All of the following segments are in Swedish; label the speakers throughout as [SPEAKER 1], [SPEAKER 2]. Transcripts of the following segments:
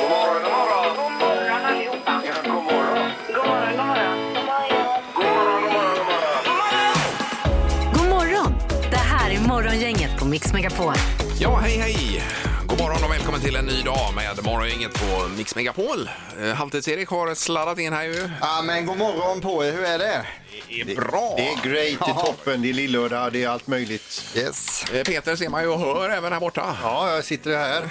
[SPEAKER 1] God morgon, god morgon. God morgon allihopa. Ja, god morgon. God morgon, god morgon. God morgon, god morgon, god morgon.
[SPEAKER 2] God morgon! Det här är Morgongänget på Mix Megapol.
[SPEAKER 3] Ja, hej, hej! God morgon och välkommen till en ny dag med Morgongänget på Mix Megapol. Eh, Halvtids-Erik har sladdat in här ju. Eh,
[SPEAKER 4] Ja, men god morgon på er, hur är det?
[SPEAKER 3] Det är bra!
[SPEAKER 5] Det är great, det är toppen, det är lillördag, det är allt möjligt.
[SPEAKER 4] Yes.
[SPEAKER 3] Eh, Peter ser man ju och hör även här borta.
[SPEAKER 5] Ja, jag sitter här.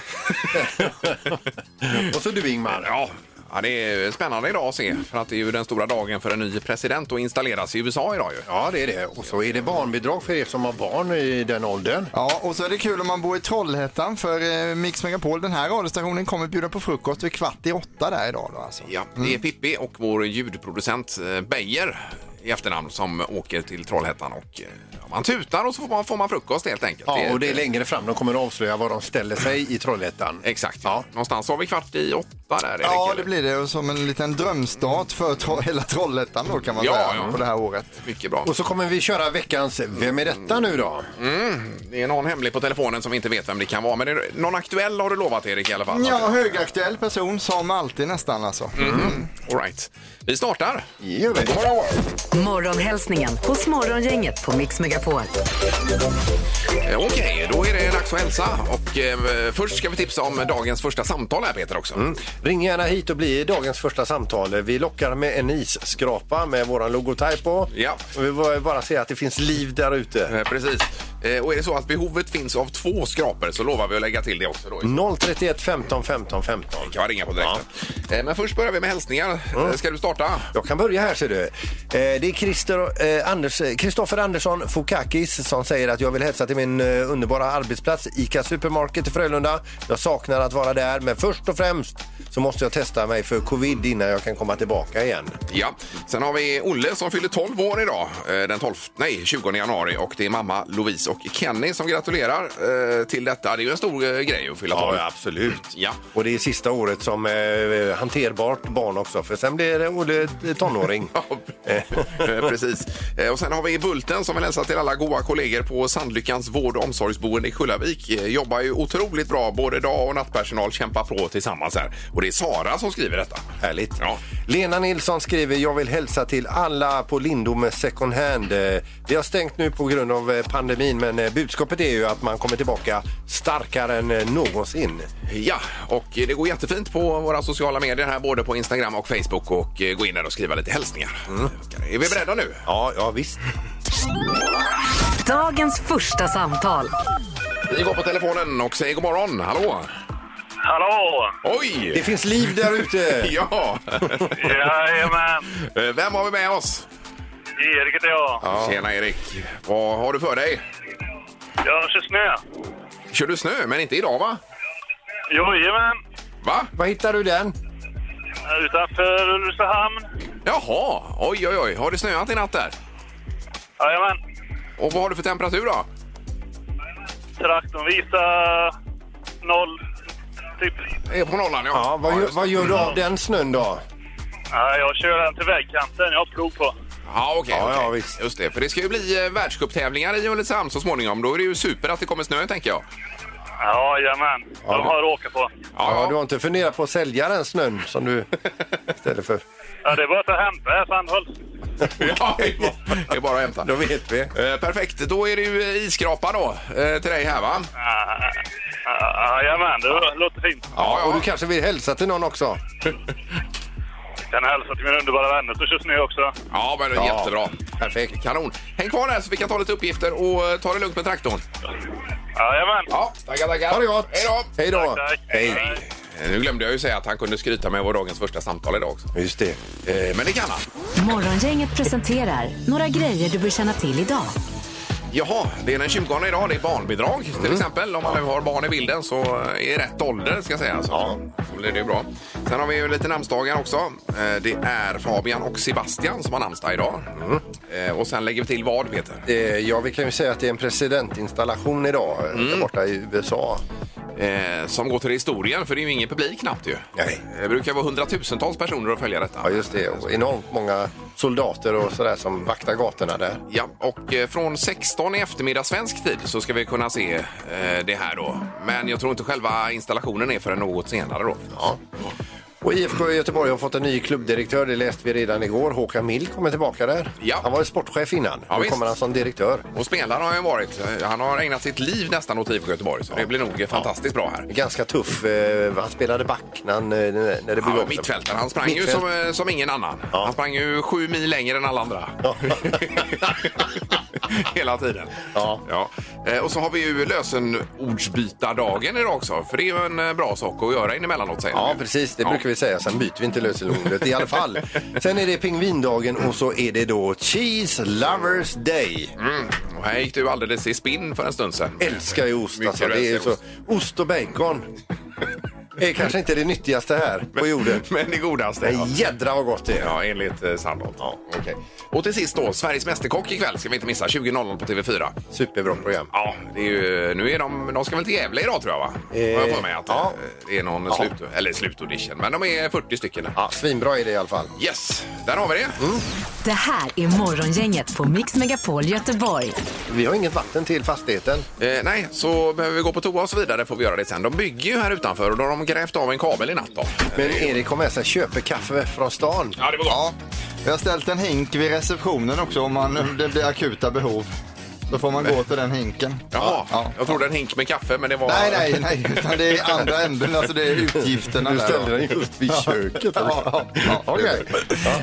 [SPEAKER 5] och så du Ingmar.
[SPEAKER 3] Ja. Ja, det är spännande idag att se, för att det är ju den stora dagen för en ny president att installeras i USA idag ju.
[SPEAKER 5] Ja, det är det. Och så är det barnbidrag för er som har barn i den åldern.
[SPEAKER 4] Ja, och så är det kul om man bor i Trollhättan för eh, Mix Megapol, den här radiostationen kommer bjuda på frukost vid kvart i åtta där idag då alltså.
[SPEAKER 3] Ja, det är Pippi och vår ljudproducent eh, Beijer i efternamn som åker till Trollhättan och eh, ja, man tutar och så får man, får man frukost helt enkelt.
[SPEAKER 5] Ja, och det är längre fram de kommer att avslöja var de ställer sig i Trollhättan.
[SPEAKER 3] Exakt. Ja. Någonstans har vi kvart i åtta där, Erik.
[SPEAKER 4] Ja,
[SPEAKER 3] eller?
[SPEAKER 4] det blir det och som en liten drömstart för tro- hela Trollhättan då kan man
[SPEAKER 3] Ja,
[SPEAKER 4] säga
[SPEAKER 3] ja.
[SPEAKER 4] på det här året.
[SPEAKER 3] Mycket bra.
[SPEAKER 5] Och så kommer vi köra veckans Vem är detta nu då?
[SPEAKER 3] Det är någon hemlig på telefonen som vi inte vet vem det kan vara. Men det är någon aktuell har du lovat Erik i alla fall.
[SPEAKER 4] Ja, högaktuell person som alltid nästan alltså.
[SPEAKER 3] Mhm. All right. Vi startar.
[SPEAKER 5] Gör vi.
[SPEAKER 2] Morgonhälsningen hos Morgongänget på Mix Megapol.
[SPEAKER 3] Eh, Okej, då är det dags att hälsa. Och eh, först ska vi tipsa om dagens första samtal här Peter också.
[SPEAKER 5] Ring gärna hit och bli dagens första samtal. Vi lockar med en isskrapa med våran logotyp på.
[SPEAKER 3] Ja.
[SPEAKER 5] Och vi vill bara säga att det finns liv där ute.
[SPEAKER 3] Eh, Precis. Eh, Och är det så att behovet finns av två skrapor så lovar vi att lägga till det också
[SPEAKER 5] Mm.
[SPEAKER 3] då.
[SPEAKER 5] 031 15 15 15.
[SPEAKER 3] Kan jag ringa på direkten. Eh, Men först börjar vi med hälsningar. Eh, Ska du starta?
[SPEAKER 5] Jag kan börja här ser du. Eh, Det är Christer, eh, Anders, eh, Christoffer Andersson Fokakis som säger att jag vill hälsa till min eh, underbara arbetsplats ICA Supermarket i Frölunda. Jag saknar att vara där men först och främst så måste jag testa mig för covid innan jag kan komma tillbaka igen.
[SPEAKER 3] Ja. Sen har vi Olle som fyller 12 år idag, eh, den 12, nej, 20 januari. Och det är mamma Louise och Kenny som gratulerar eh, till detta. Det är ju en stor eh, grej att fylla 12.
[SPEAKER 5] absolut.
[SPEAKER 3] Ja.
[SPEAKER 5] Och det är sista året som eh, hanterbart barn också för sen blir det Olle tonåring.
[SPEAKER 3] Ja, eh, precis. Eh, Och sen har vi Bulten som vill hälsa till alla goa kollegor på Sandlyckans vård och omsorgsboende i Kullavik. Eh, Jobbar ju otroligt bra, både dag och nattpersonal kämpar på tillsammans här. Och det är Sara som skriver detta.
[SPEAKER 5] Härligt.
[SPEAKER 3] Ja.
[SPEAKER 5] Lena Nilsson skriver, jag vill hälsa till alla på Lindome second hand. Eh, Vi har stängt nu på grund av eh, pandemin men eh, budskapet är ju att man kommer tillbaka starkare än eh, någonsin.
[SPEAKER 3] Ja, och eh, det går jättefint på våra sociala medier här, både på Instagram och Facebook och eh, gå in där och skriva lite hälsningar. Är vi beredda nu?
[SPEAKER 5] Ja, ja visst.
[SPEAKER 2] Dagens första samtal.
[SPEAKER 3] Vi går på telefonen och säger god morgon. Hallå!
[SPEAKER 6] Hallå!
[SPEAKER 5] Det
[SPEAKER 3] Oj!
[SPEAKER 5] finns liv där ute!
[SPEAKER 3] Ja!
[SPEAKER 6] Jajamän!
[SPEAKER 3] Eh, Vem har vi med oss?
[SPEAKER 6] Erik heter jag.
[SPEAKER 3] Tjena Erik! Vad har du för dig?
[SPEAKER 6] Jag kör snö.
[SPEAKER 3] Kör du snö? Men inte idag va?
[SPEAKER 6] Jajamän!
[SPEAKER 3] Va?
[SPEAKER 5] Var hittar du den?
[SPEAKER 6] Utanför Ulricehamn.
[SPEAKER 3] Jaha! Oj, oj, oj. Har det snöat i natt där?
[SPEAKER 6] Jajamän!
[SPEAKER 3] Och vad har du för temperatur då?
[SPEAKER 6] Traktorn visar noll, typ.
[SPEAKER 3] Är Eh, på nollan, ja.
[SPEAKER 5] Ja, vad, Mm. gör-
[SPEAKER 3] just det.
[SPEAKER 5] vad gör du av den snön då?
[SPEAKER 6] Nej, jag kör den till vägkanten. Jag har prov på.
[SPEAKER 3] Ja, okej.
[SPEAKER 5] Ja, ja,
[SPEAKER 3] okej.
[SPEAKER 5] visst.
[SPEAKER 3] Just det. För det ska ju bli eh, världscuptävlingar i Ulricehamn så småningom. Då är det ju super att det kommer snö, tänker jag.
[SPEAKER 6] Jajamän! De har att åka på.
[SPEAKER 5] Ja, du har inte funderat på att sälja den snön som du istället för?
[SPEAKER 6] Ja, det är bara att hämta här Sandholt.
[SPEAKER 3] Ja, det är bara- det är bara att hämta.
[SPEAKER 5] Då vet vi.
[SPEAKER 3] Eh, perfekt, då är det ju eh, isskrapa då eh, till dig här va?
[SPEAKER 6] Ja, Jajamän, det låter fint.
[SPEAKER 5] Ja, och du kanske vill hälsa till någon också?
[SPEAKER 6] Jag kan hälsa till mina underbara vänner som kör snö också.
[SPEAKER 3] ja men det är
[SPEAKER 5] Ja.
[SPEAKER 3] jättebra.
[SPEAKER 5] Perfekt.
[SPEAKER 3] Kanon. Häng kvar där så vi kan ta lite uppgifter och eh, ta det lugnt med traktorn.
[SPEAKER 6] Jajamän!
[SPEAKER 3] Ja, tackar, tackar.
[SPEAKER 5] Ha det gott!
[SPEAKER 3] Hej då!
[SPEAKER 5] Hej då!
[SPEAKER 6] Tack, tack.
[SPEAKER 5] Hej!
[SPEAKER 3] Eh, Nu glömde jag ju säga att han kunde skryta med vår dagens första samtal idag också.
[SPEAKER 5] Just det.
[SPEAKER 3] Eh, Men det kan han.
[SPEAKER 2] Morgongänget presenterar några grejer du bör känna till idag.
[SPEAKER 3] Jaha, det är den 20 idag. Det är barnbidrag till
[SPEAKER 5] Mm.
[SPEAKER 3] exempel. Om man nu har barn i bilden så eh, i rätt ålder ska sägas. Ja. Så blir det ju bra. Sen har vi ju lite namnsdagar också. Eh, Det är Fabian och Sebastian som har namnsdag idag.
[SPEAKER 5] Mm.
[SPEAKER 3] Eh, Och sen lägger vi till vad Peter? Mm.
[SPEAKER 5] Eh, Ja, vi kan ju säga att det är en presidentinstallation idag eh, där borta i USA.
[SPEAKER 3] eh, som går till historien, för det är ju ingen publik knappt ju.
[SPEAKER 5] Nej.
[SPEAKER 3] Det brukar vara hundratusentals personer att följa detta.
[SPEAKER 5] Ja, just det. Och enormt många soldater och sådär som vaktar gatorna där.
[SPEAKER 3] Ja, och eh, från 16 i eftermiddag svensk tid så ska vi kunna se eh, det här då. Men jag tror inte själva installationen är förrän något senare då.
[SPEAKER 5] Ja. Och IFK Göteborg har fått en ny klubbdirektör, det läste vi redan igår. Håkan Mild kommer tillbaka där.
[SPEAKER 3] Ja.
[SPEAKER 5] Han var ju sportchef innan,
[SPEAKER 3] Ja,
[SPEAKER 5] nu
[SPEAKER 3] visst.
[SPEAKER 5] kommer han som direktör.
[SPEAKER 3] Och spelare har han ju varit. Eh, Han har ägnat sitt liv nästan åt IFK Göteborg, så det blir nog eh, fantastiskt bra här.
[SPEAKER 5] Ganska tuff, eh, han spelade back när, han, eh, när det
[SPEAKER 3] Han
[SPEAKER 5] begav
[SPEAKER 3] var mittfältare. Han sprang ju
[SPEAKER 5] Mittfält.
[SPEAKER 3] som, eh, som ingen annan.
[SPEAKER 5] Ja.
[SPEAKER 3] Han sprang ju sju mil längre än alla andra. Hela tiden.
[SPEAKER 5] Ja.
[SPEAKER 3] Eh, Och så har vi ju lösenordsbytardagen idag också. För det är ju en eh, bra sak att göra emellanåt säger
[SPEAKER 5] Ja,
[SPEAKER 3] de ju.
[SPEAKER 5] precis. Det
[SPEAKER 3] Ja.
[SPEAKER 5] brukar vi säga. Sen byter vi inte lösenordet i alla fall. Sen är det pingvindagen och så är det då Cheese Lovers Day.
[SPEAKER 3] Mm. Och här gick du alldeles i spinn för en stund sedan.
[SPEAKER 5] Älskar ju ost
[SPEAKER 3] Mycket
[SPEAKER 5] alltså. Det är ju
[SPEAKER 3] älskar
[SPEAKER 5] så.
[SPEAKER 3] ost.
[SPEAKER 5] Ost och bacon är kanske inte det nyttigaste här på jorden.
[SPEAKER 3] Men det godaste. ja.
[SPEAKER 5] Men jädra vad gott det är.
[SPEAKER 3] Ja, enligt eh, Sandholt. Ja, okej. Och till sist då, Sveriges Mästerkock ikväll ska vi inte missa. 20.00 på TV4.
[SPEAKER 5] Superbra program.
[SPEAKER 3] Ja, det är ju, nu är de, de ska väl till Gävle idag tror jag va? Har jag för mig att
[SPEAKER 5] ja.
[SPEAKER 3] eh, det är någon slut, eller slutaudition. Men de är 40 stycken.
[SPEAKER 5] Ja, svinbra är det i alla fall.
[SPEAKER 3] Yes, där har vi det.
[SPEAKER 2] Det här är Morgongänget på Mix Megapol Göteborg.
[SPEAKER 5] Vi har inget vatten till fastigheten.
[SPEAKER 3] Eh, nej, så behöver vi gå på toa och så vidare får vi göra det sen. De bygger ju här utanför och då har de grävt av en kabel i natt då.
[SPEAKER 5] Men Erik har med sig köpekaffe från stan.
[SPEAKER 3] Ja, det var gott.
[SPEAKER 4] Ja, vi har ställt en hink vid receptionen också om man, det blir akuta behov. Då får man gå till den hinken.
[SPEAKER 3] Jaha,
[SPEAKER 4] Ja.
[SPEAKER 3] jag trodde en hink med kaffe men det var...
[SPEAKER 4] Nej, nej, nej, utan det är andra änden, alltså det är utgifterna.
[SPEAKER 5] Du
[SPEAKER 4] där
[SPEAKER 5] ställde
[SPEAKER 4] då.
[SPEAKER 5] den just vid köket.
[SPEAKER 4] Ja, ja, ja, okej.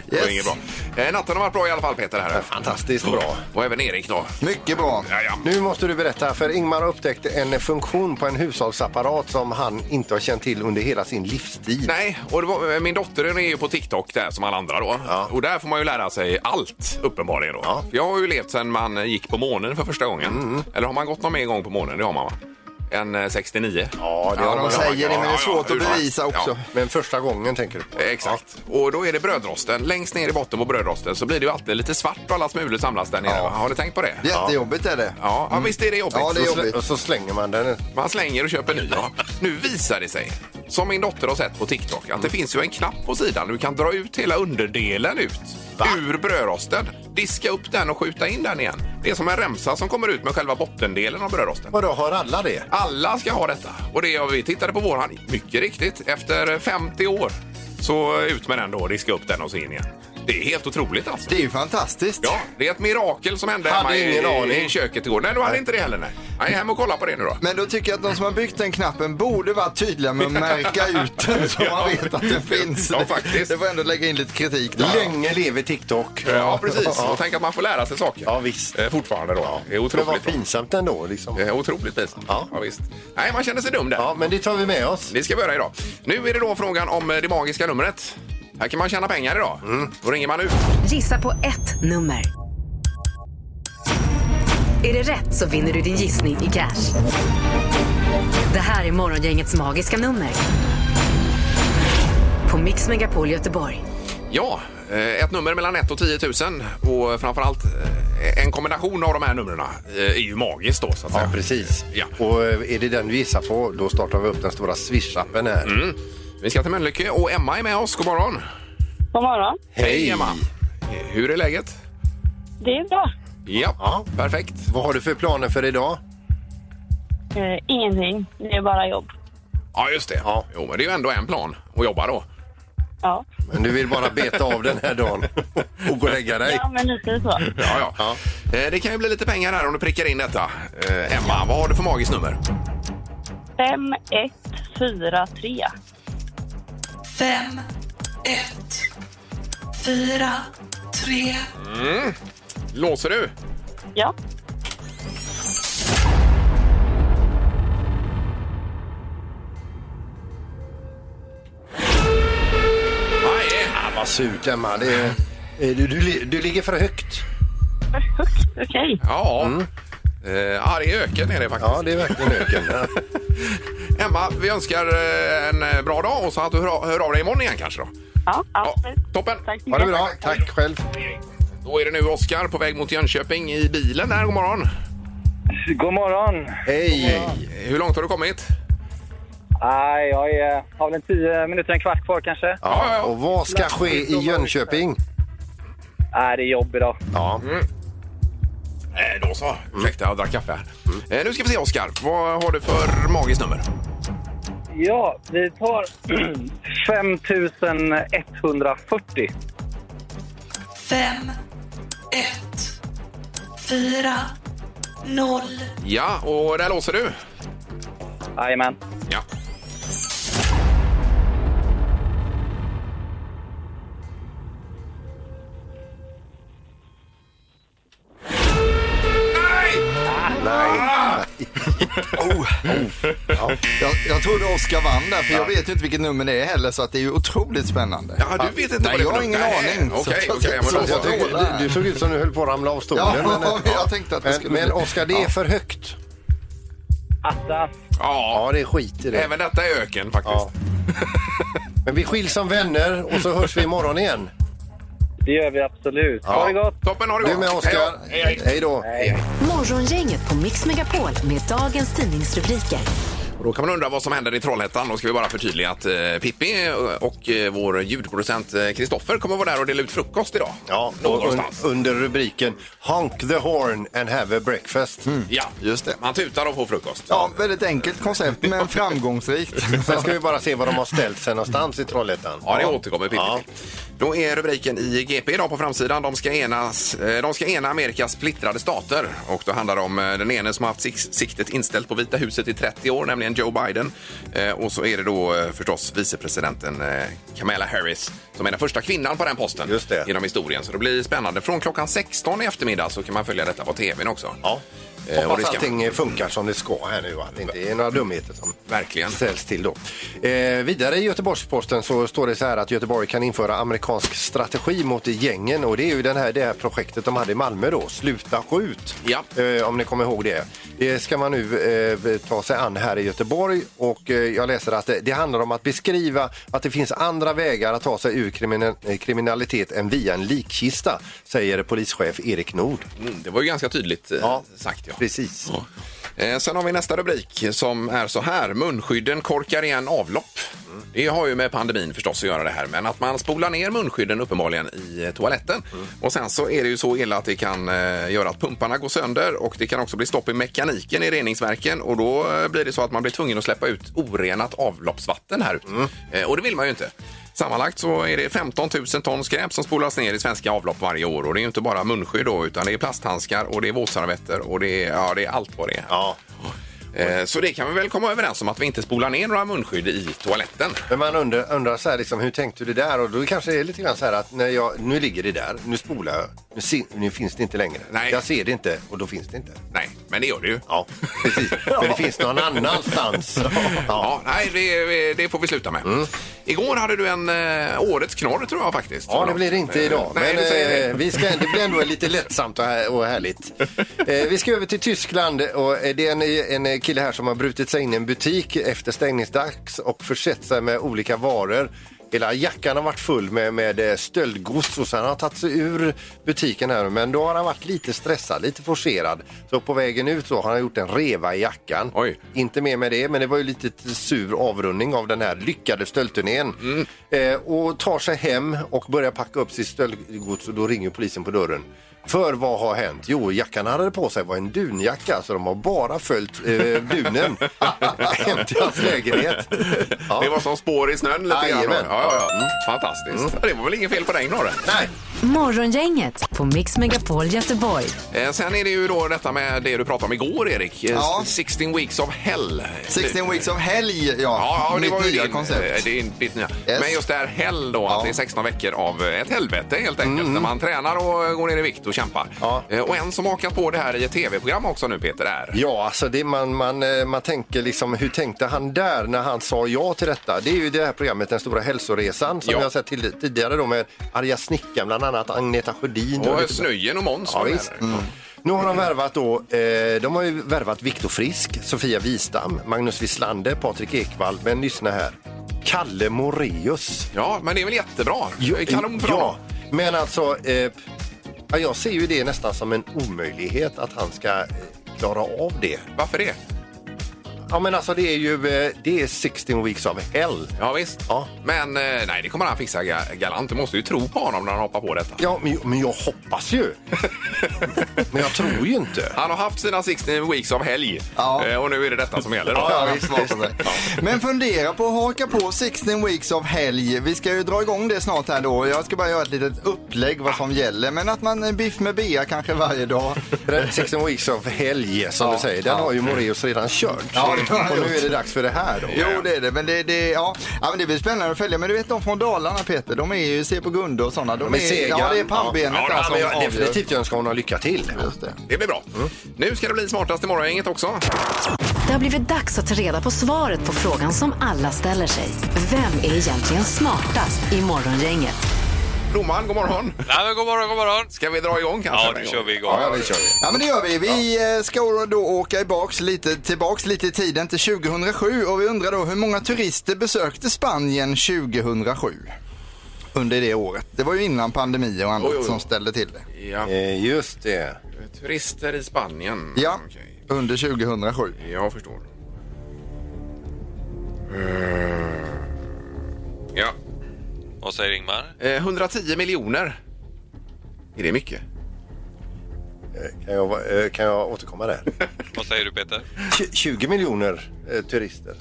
[SPEAKER 3] Det var inget bra. Eh, natten har varit bra i alla fall Peter här.
[SPEAKER 5] Fantastiskt bra.
[SPEAKER 3] Och även Erik då.
[SPEAKER 4] Mycket bra.
[SPEAKER 3] Ja, ja.
[SPEAKER 5] Nu måste du berätta, för Ingmar har upptäckt en funktion på en hushållsapparat som han inte har känt till under hela sin livstid.
[SPEAKER 3] Nej, och det var, eh, min dotter är ju på TikTok där som alla andra då.
[SPEAKER 5] Ja.
[SPEAKER 3] Och där får man ju lära sig allt uppenbarligen då.
[SPEAKER 5] Ja.
[SPEAKER 3] För jag har ju levt sedan man eh, gick på månen för första gången.
[SPEAKER 4] Mm.
[SPEAKER 3] Eller har man gått någon mer gång på månen? Det har man va? En eh, 69.
[SPEAKER 5] Ja, det
[SPEAKER 4] Ja,
[SPEAKER 5] har man.
[SPEAKER 4] de säger det, men det
[SPEAKER 3] ja,
[SPEAKER 4] är svårt
[SPEAKER 3] ja,
[SPEAKER 4] att
[SPEAKER 3] ursäkta.
[SPEAKER 4] bevisa också.
[SPEAKER 5] Men första gången tänker du på?
[SPEAKER 3] Eh, Exakt. Och då är det brödrosten. Längst ner i botten på brödrosten så blir det ju alltid lite svart och alla smulor samlas där nere. va? Har ni tänkt på det?
[SPEAKER 4] Jättejobbigt är det.
[SPEAKER 3] Ja, ja visst är det jobbigt.
[SPEAKER 4] Ja, det är
[SPEAKER 3] Så
[SPEAKER 5] Och
[SPEAKER 4] jobbigt.
[SPEAKER 5] så- Och så slänger man den.
[SPEAKER 3] Man slänger och köper ny. Nu visar det sig, som min dotter har sett på TikTok,
[SPEAKER 5] Mm.
[SPEAKER 3] att det finns ju en knapp på sidan. Du kan dra ut hela underdelen ut ur brödrosten. Diska upp den och skjuta in den igen. Det är som en remsa som kommer ut med själva bottendelen av brödrosten.
[SPEAKER 5] Vadå, har alla det?
[SPEAKER 3] Alla ska ha detta. Och det vi tittade på våran, mycket riktigt, efter 50 år så ut med den då, diska upp den och så in igen. Det är helt otroligt alltså.
[SPEAKER 4] Det är ju fantastiskt.
[SPEAKER 3] Ja, det är ett mirakel som hände
[SPEAKER 5] Hade
[SPEAKER 3] hemma
[SPEAKER 5] ingen
[SPEAKER 3] i,
[SPEAKER 5] aning.
[SPEAKER 3] i köket igår. Nej, du hade inte det heller. Nej, nej hem och kolla på det nu då.
[SPEAKER 4] Men då tycker jag att de som har byggt den knappen borde vara tydliga med att märka ut den så man vet att den finns.
[SPEAKER 3] Ja, faktiskt.
[SPEAKER 4] Det var ändå lägga in lite kritik där.
[SPEAKER 5] Länge lever TikTok.
[SPEAKER 3] Ja, precis. Och tänk att man får lära sig saker.
[SPEAKER 5] Ja, visst.
[SPEAKER 3] Eh, Fortfarande då. Det är
[SPEAKER 5] Men vad
[SPEAKER 3] otroligt.
[SPEAKER 5] pinsamt ändå. Liksom.
[SPEAKER 3] Det är otroligt pinsamt. Ja.
[SPEAKER 5] Ja.
[SPEAKER 3] visst. Nej, man känner sig dum där.
[SPEAKER 5] Ja, men det tar vi med oss.
[SPEAKER 3] Det ska vi göra idag. Nu är det då frågan om eh, det magiska numret. Här kan man tjäna pengar idag.
[SPEAKER 5] Mm.
[SPEAKER 3] Då ringer man ut.
[SPEAKER 2] Gissa på ett nummer. Är det rätt så vinner du din gissning i cash. Det här är Morgongängets magiska nummer. På Mix Megapol Göteborg.
[SPEAKER 3] Ja, eh, ett nummer mellan 1 och 10 000 och framförallt eh, en kombination av de här numren eh, är ju magiskt då så att
[SPEAKER 5] Ja,
[SPEAKER 3] säga.
[SPEAKER 5] precis.
[SPEAKER 3] Ja.
[SPEAKER 5] Och eh, är det den du gissar på, då startar vi upp den stora Swish-appen här.
[SPEAKER 3] Vi ska till Mölnlycke och Emma är med oss. God morgon!
[SPEAKER 7] God morgon.
[SPEAKER 3] Hej Emma! Eh, Hur är läget?
[SPEAKER 7] Det är bra.
[SPEAKER 3] Ja,
[SPEAKER 5] Ja.
[SPEAKER 3] perfekt.
[SPEAKER 5] Vad har du för planer för idag?
[SPEAKER 7] Eh, ingenting. Det är bara jobb.
[SPEAKER 3] Ja, just det. Ja. Jo, men det är ju ändå en plan att jobba då.
[SPEAKER 7] Ja,
[SPEAKER 5] Men du vill bara beta av den här dagen och gå och lägga dig.
[SPEAKER 7] ja men lite så.
[SPEAKER 3] Ja, ja. Eh, Det kan ju bli lite pengar här om du prickar in detta. Eh, Emma, vad har du för magiskt nummer?
[SPEAKER 7] 5, 1, 4, 3.
[SPEAKER 8] Fem, ett, fyra, tre.
[SPEAKER 3] Låser du?
[SPEAKER 7] Ja.
[SPEAKER 3] Nej.
[SPEAKER 5] Vad surt, Emma. Det är, eh, du, du, li- du ligger för högt.
[SPEAKER 7] Okej.
[SPEAKER 3] Ja. Eh, Ja, det är öken är det faktiskt.
[SPEAKER 5] Ja, det är verkligen öken.
[SPEAKER 3] Emma, vi önskar eh, en eh, bra dag och så att du hör hör av dig imorgon igen kanske då.
[SPEAKER 7] Ja, absolut.
[SPEAKER 3] toppen.
[SPEAKER 7] Tack så
[SPEAKER 5] Ha det
[SPEAKER 7] mycket.
[SPEAKER 5] bra. Tack själv.
[SPEAKER 3] Då är det nu Oskar på väg mot Jönköping i bilen där. God morgon.
[SPEAKER 6] God morgon.
[SPEAKER 5] Hej!
[SPEAKER 3] Hur långt har du kommit?
[SPEAKER 9] Nej, jag är, har väl en tio minuter, en kvart kvar kanske.
[SPEAKER 3] Ja, ja.
[SPEAKER 5] Och vad ska ske i Jönköping?
[SPEAKER 9] Nej, det är jobb idag.
[SPEAKER 5] Ja.
[SPEAKER 3] Eh, Då så. Ursäkta, jag drack kaffe här. Eh, Nu ska vi se, Oskar. Vad har du för magiskt nummer?
[SPEAKER 9] Ja, vi tar 5140.
[SPEAKER 8] 5, 1, 4, 0.
[SPEAKER 3] Ja, och där låser du.
[SPEAKER 9] Jajamän.
[SPEAKER 3] Ja. Nej! Ah!
[SPEAKER 4] Oh. Ja. Jag, jag trodde Oskar vann där, för jag vet ju inte vilket nummer det är heller, så att det är ju otroligt spännande.
[SPEAKER 3] Ja, du vet inte
[SPEAKER 4] Nej,
[SPEAKER 3] vad det är
[SPEAKER 4] jag
[SPEAKER 3] för
[SPEAKER 4] har ingen
[SPEAKER 3] nummer.
[SPEAKER 4] aning.
[SPEAKER 3] Nej,
[SPEAKER 4] så
[SPEAKER 3] okej,
[SPEAKER 4] att-
[SPEAKER 3] okej, men
[SPEAKER 4] så
[SPEAKER 3] då
[SPEAKER 4] att
[SPEAKER 3] så.
[SPEAKER 4] jag
[SPEAKER 5] Du,
[SPEAKER 4] tycker det här.
[SPEAKER 5] du såg ut som du höll på att ramla av stolen.
[SPEAKER 4] Ja,
[SPEAKER 5] Men-
[SPEAKER 4] jag tänkte att det
[SPEAKER 5] Men-
[SPEAKER 4] skulle
[SPEAKER 5] Men
[SPEAKER 4] bli-
[SPEAKER 5] Oskar, det är för högt.
[SPEAKER 9] Attas.
[SPEAKER 3] Ja,
[SPEAKER 5] Ja, det är skit i det.
[SPEAKER 3] även detta är öken faktiskt.
[SPEAKER 5] Ja. Men vi skiljs som vänner och så hörs vi imorgon igen.
[SPEAKER 9] Det gör vi absolut. Ha det gott!
[SPEAKER 3] Toppen, ha det
[SPEAKER 5] Du
[SPEAKER 3] gott!
[SPEAKER 5] med Oskar.
[SPEAKER 3] Hej då. Hej, hej.
[SPEAKER 5] Hej då.
[SPEAKER 2] Morgongänget på Mix Megapol med dagens tidningsrubriker.
[SPEAKER 3] Och Då kan man undra vad som händer i Trollhättan. Då ska vi bara förtydliga att eh, Pippi eh, och eh, vår ljudproducent eh, Kristoffer kommer vara där och dela ut frukost idag.
[SPEAKER 5] Ja, och un
[SPEAKER 3] någonstans.
[SPEAKER 5] under rubriken Honk the horn and have a breakfast.
[SPEAKER 3] Ja, just det. Man tutar och får frukost.
[SPEAKER 4] Ja, väldigt enkelt koncept, men framgångsrikt.
[SPEAKER 5] Sen ska vi bara se var de har ställt sig någonstans i Trollhättan.
[SPEAKER 3] Ja, det återkommer Pippi
[SPEAKER 5] Ja.
[SPEAKER 3] till. Då är rubriken i GP idag på framsidan. De ska, enas, eh, de ska ena Amerikas splittrade stater. Och då handlar det om eh, den ene som har haft sik- siktet inställt på Vita huset i 30 år, nämligen Joe Biden. Eh, Och så är det då eh, förstås vicepresidenten eh, Kamala Harris som är den första kvinnan på den posten
[SPEAKER 5] Just det.
[SPEAKER 3] genom historien. Så det blir spännande. Från klockan 16 i eftermiddag så kan man följa detta på tvn också.
[SPEAKER 5] Ja.
[SPEAKER 3] Eh, och det
[SPEAKER 5] Hoppas
[SPEAKER 3] ska- Mm.
[SPEAKER 5] allting funkar som det ska här nu, att det inte är några dumheter som
[SPEAKER 3] Verkligen.
[SPEAKER 5] säljs till då. Eh, vidare i Göteborgs-Posten så står det så här att Göteborg kan införa amerikansk strategi mot gängen och det är ju den här, det här projektet de hade i Malmö då, Sluta skjut,
[SPEAKER 3] Ja.
[SPEAKER 5] eh, om ni kommer ihåg det. Det ska man nu eh, ta sig an här i Göteborg och eh, jag läser att det, det handlar om att beskriva att det finns andra vägar att ta sig ur krimin- eh, kriminalitet än via en likkista, säger polischef Erik Nord.
[SPEAKER 3] Mm, det var ju ganska tydligt eh,
[SPEAKER 5] Ja,
[SPEAKER 3] sagt. Ja.
[SPEAKER 5] Precis.
[SPEAKER 3] Eh, Sen har vi nästa rubrik som är så här. Munskydden korkar igen avlopp. Det har ju med pandemin förstås att göra det här, men att man spolar ner munskydden uppenbarligen i eh, toaletten. Och sen så är det ju så illa att det kan eh, göra att pumparna går sönder och det kan också bli stopp i mekaniken i reningsverken och då eh, blir det så att man blir tvungen att släppa ut orenat avloppsvatten här ute. Eh, Och det vill man ju inte. Sammanlagt så är det 15 000 ton skräp som spolas ner i svenska avlopp varje år. Och det är ju inte bara munskydd då, utan det är plasthandskar och det är våtservetter och det är, ja, det är allt vad det är.
[SPEAKER 5] Ja.
[SPEAKER 3] Eh, Så det kan vi väl komma överens om att vi inte spolar ner några munskydd i toaletten.
[SPEAKER 5] Men man undrar, undrar så här, liksom, hur tänkte du där? Och då kanske det är lite grann så här att när jag, nu ligger det där, nu spolar jag, nu, se, nu finns det inte längre.
[SPEAKER 3] Nej.
[SPEAKER 5] Jag ser det inte och då finns det inte.
[SPEAKER 3] Nej, men det gör det ju.
[SPEAKER 5] Ja, precis. Men det finns någon annanstans. Ja.
[SPEAKER 3] Ja, nej, det, det får vi sluta med.
[SPEAKER 5] Mm.
[SPEAKER 3] Igår hade du en eh, årets knorr tror jag faktiskt.
[SPEAKER 5] Ja, det blir det inte
[SPEAKER 3] Eh,
[SPEAKER 5] idag.
[SPEAKER 3] Nej,
[SPEAKER 5] men
[SPEAKER 3] du säger
[SPEAKER 5] eh,
[SPEAKER 3] det.
[SPEAKER 5] vi ska, det blir ändå lite lättsamt och, här, och härligt. Eh, vi ska över till Tyskland och eh, det är en, en kille här som har brutit sig in i en butik efter stängningsdags och försett sig med olika varor. Hela jackan har varit full med, med eh, stöldgods och sen har han tagit sig ur butiken här men då har han varit lite stressad, lite forcerad. Så på vägen ut så har han gjort en reva i jackan.
[SPEAKER 3] Oj.
[SPEAKER 5] Inte mer med det, men det var ju lite sur avrundning av den här lyckade stöldturnén.
[SPEAKER 3] Mm.
[SPEAKER 5] Eh, och tar sig hem och börjar packa upp sitt stöldgods och då ringer polisen på dörren. För vad har hänt? Jo, jackan han hade på sig var en dunjacka så de har bara följt eh, dunen hem till hans lägenhet. Ja.
[SPEAKER 3] Det var som spår i snön lite grann. då. Ja,
[SPEAKER 5] Jajamän. Mm.
[SPEAKER 3] ja, ja. Fantastiskt. Ja, Det var väl inget fel på den knorren?
[SPEAKER 5] Nej,
[SPEAKER 2] Morgongänget på Mix Megapol Göteborg.
[SPEAKER 3] Eh, Sen är det ju då detta med det du pratade om igår, Erik. Eh,
[SPEAKER 4] Ja.
[SPEAKER 3] 16 weeks of hell.
[SPEAKER 4] 16 Weeks of Helg, ja.
[SPEAKER 3] Ja, ja, det
[SPEAKER 4] Mitt
[SPEAKER 3] var ju
[SPEAKER 4] nya
[SPEAKER 3] din, eh,
[SPEAKER 4] koncept.
[SPEAKER 3] din, ditt nya.
[SPEAKER 4] Yes.
[SPEAKER 3] Men just det här hell då, att
[SPEAKER 4] Ja.
[SPEAKER 3] det är 16 veckor av eh, ett helvete helt enkelt. När man tränar och eh, går ner i vikt och kämpar.
[SPEAKER 5] Ja.
[SPEAKER 3] Eh, Och en som hakat på det här i ett tv-program också nu Peter är...
[SPEAKER 5] Ja, alltså det man, man, eh, man tänker liksom, hur tänkte han där när han sa ja till detta? Det är ju det här programmet Den stora hälsoresan som
[SPEAKER 3] Ja.
[SPEAKER 5] vi har sett till, tidigare då med arga snickaren, bland annat Agneta Sjödin.
[SPEAKER 3] Och
[SPEAKER 5] lite-
[SPEAKER 3] Snöjen och Måns
[SPEAKER 5] Ja,
[SPEAKER 3] var med
[SPEAKER 5] visst. Mm.
[SPEAKER 3] där.
[SPEAKER 5] Nu har de värvat då, eh, de har ju värvat Viktor Frisk, Sofia Wistam, Magnus Wislander, Patrik Ekwall, men lyssna här. Kalle Moreus.
[SPEAKER 3] Ja, men det är väl jättebra. Kanon för
[SPEAKER 5] ja,
[SPEAKER 3] honom.
[SPEAKER 5] men alltså, eh, ja, jag ser ju det nästan som en omöjlighet att han ska eh, klara av det.
[SPEAKER 3] Varför det?
[SPEAKER 5] Ja, men alltså det är ju eh, det är 16 weeks of hell.
[SPEAKER 3] Ja, visst.
[SPEAKER 5] Ja.
[SPEAKER 3] Men eh, nej, det kommer han fixa ga- galant. Du måste ju tro på honom när han hoppar på detta.
[SPEAKER 5] Ja, men, men jag hoppas ju. men jag tror ju inte.
[SPEAKER 3] Han har haft sina 16 weeks av helg
[SPEAKER 4] Ja.
[SPEAKER 3] Eh, och nu är det detta som gäller. Då.
[SPEAKER 4] Ja, visst, visst. Men fundera på att haka på 16 weeks of helg. Vi ska ju dra igång det snart här då. Jag ska bara göra ett litet upplägg vad som gäller. Men att man eh, biff med bea kanske varje dag.
[SPEAKER 5] Den 16 weeks of helg som
[SPEAKER 4] Ja,
[SPEAKER 5] du säger, den
[SPEAKER 4] ja.
[SPEAKER 5] har ju Moreus redan kört.
[SPEAKER 4] Ja, det har han
[SPEAKER 5] och nu
[SPEAKER 4] gjort.
[SPEAKER 5] är det dags för det här då.
[SPEAKER 4] Jo, det är det. Men det, det, ja. Ja, men det blir spännande att följa. Men du vet de från Dalarna, Peter, de är ju, se på Gunde och sådana. De
[SPEAKER 5] Med
[SPEAKER 4] är,
[SPEAKER 5] Segan.
[SPEAKER 4] ja, det är pannbenet
[SPEAKER 5] ja,
[SPEAKER 4] där
[SPEAKER 5] ja,
[SPEAKER 4] som
[SPEAKER 5] men jag,
[SPEAKER 4] avgör.
[SPEAKER 5] Definitivt önskar honom lycka till.
[SPEAKER 4] Just det.
[SPEAKER 3] Det blir bra.
[SPEAKER 4] Mm.
[SPEAKER 3] Nu ska det bli smartast i morgongänget också.
[SPEAKER 2] Det har blivit dags att ta reda på svaret på frågan som alla ställer sig. Vem är egentligen smartast i Morgongänget?
[SPEAKER 3] Blomman, god morgon.
[SPEAKER 10] Nej, men god morgon, god morgon.
[SPEAKER 3] Ska vi dra igång kanske?
[SPEAKER 10] Ja, nu kör vi igång.
[SPEAKER 5] Ja, det kör vi.
[SPEAKER 4] Ja men det gör vi. Vi eh, ska då åka i baks lite, tillbaks lite i tiden till 2007 och vi undrar då hur många turister besökte Spanien 2007? Under det året. Det var ju innan pandemi och annat
[SPEAKER 3] Oj, oj, oj.
[SPEAKER 4] som ställde till det.
[SPEAKER 3] Ja,
[SPEAKER 5] Eh, Just det.
[SPEAKER 3] turister i Spanien.
[SPEAKER 4] Ja,
[SPEAKER 3] Okej.
[SPEAKER 4] under 2007.
[SPEAKER 3] Jag förstår. Eh, Ja.
[SPEAKER 10] Vad säger Ingmar?
[SPEAKER 3] Eh, 110 miljoner. Är det mycket?
[SPEAKER 5] Eh, Kan jag, eh, kan jag återkomma där?
[SPEAKER 10] Vad säger du Peter?
[SPEAKER 5] Tj- 20 miljoner eh, turister.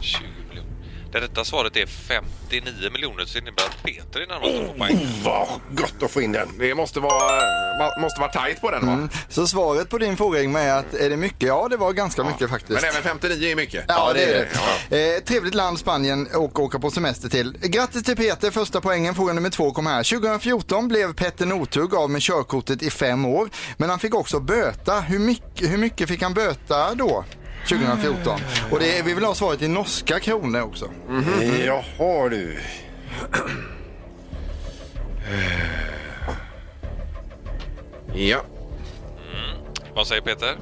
[SPEAKER 10] 20 miljoner. Det rätta svaret är 59 miljoner så det innebär att Peter är närmast att få poäng.
[SPEAKER 5] Vad gott att få in den.
[SPEAKER 3] Det måste vara, va- måste vara tajt på den va?
[SPEAKER 4] Mm. Så svaret på din fråga Ingmar är att är det mycket? Ja det var ganska mycket faktiskt.
[SPEAKER 3] Men även 59 är mycket.
[SPEAKER 4] Ja, det är
[SPEAKER 3] Ja.
[SPEAKER 4] det. Eh, trevligt land Spanien och åka på semester till. Grattis till Peter, första poängen. Fråga nummer två kom här. 2014 blev Petter Northug av med körkortet i fem år, men han fick också böta. Hur mycket, hur mycket fick han böta då? 2014. Och det, vi vill ha svaret i norska kronor också.
[SPEAKER 5] Mm. Mhm. Eh, Jaha du.
[SPEAKER 3] Ja.
[SPEAKER 10] Vad säger Peter?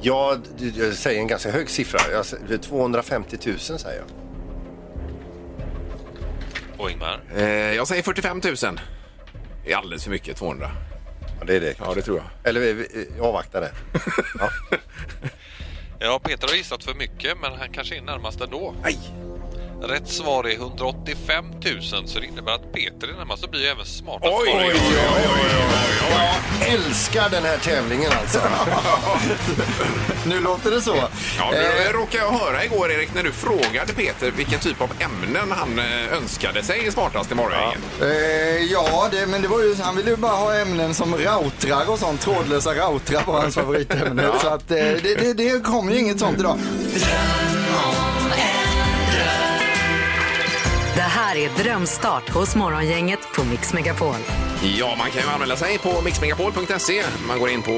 [SPEAKER 5] Jag, du- jag säger en ganska hög siffra. Jag, s- 250 000 säger jag.
[SPEAKER 10] Och Ingmar?
[SPEAKER 3] Eh, jag säger 45 000. Det är alldeles för mycket, 200.
[SPEAKER 5] Ja, det är det.
[SPEAKER 3] Ja, det tror jag.
[SPEAKER 5] Eller vi, vi jag avvaktar det. Ja.
[SPEAKER 10] Ja, Peter har gissat för mycket men han kanske är närmast ändå.
[SPEAKER 3] Aj!
[SPEAKER 10] Rätt svar är 185 000 så det innebär att Peter är närmast och blir ju även smartast.
[SPEAKER 3] Oj, oj, oj, oj, oj, oj.
[SPEAKER 5] Älskar den här tävlingen alltså.
[SPEAKER 4] Nu låter det så. Eh,
[SPEAKER 3] Ja, nu råkade jag höra igår, Erik, när du frågade Peter vilken typ av ämnen han eh, önskade sig i smartast i morgongänget.
[SPEAKER 4] Eh, ja, det, men det var ju, han ville ju bara ha ämnen som routrar och sånt. Trådlösa routrar var hans favoritämne. Så att, eh, det, det, det kom ju inget sånt idag.
[SPEAKER 2] Det här är Drömstart hos Morgongänget på Mix Megapol.
[SPEAKER 3] Ja, man kan ju anmäla sig på mixmegapol.se. Man går in på,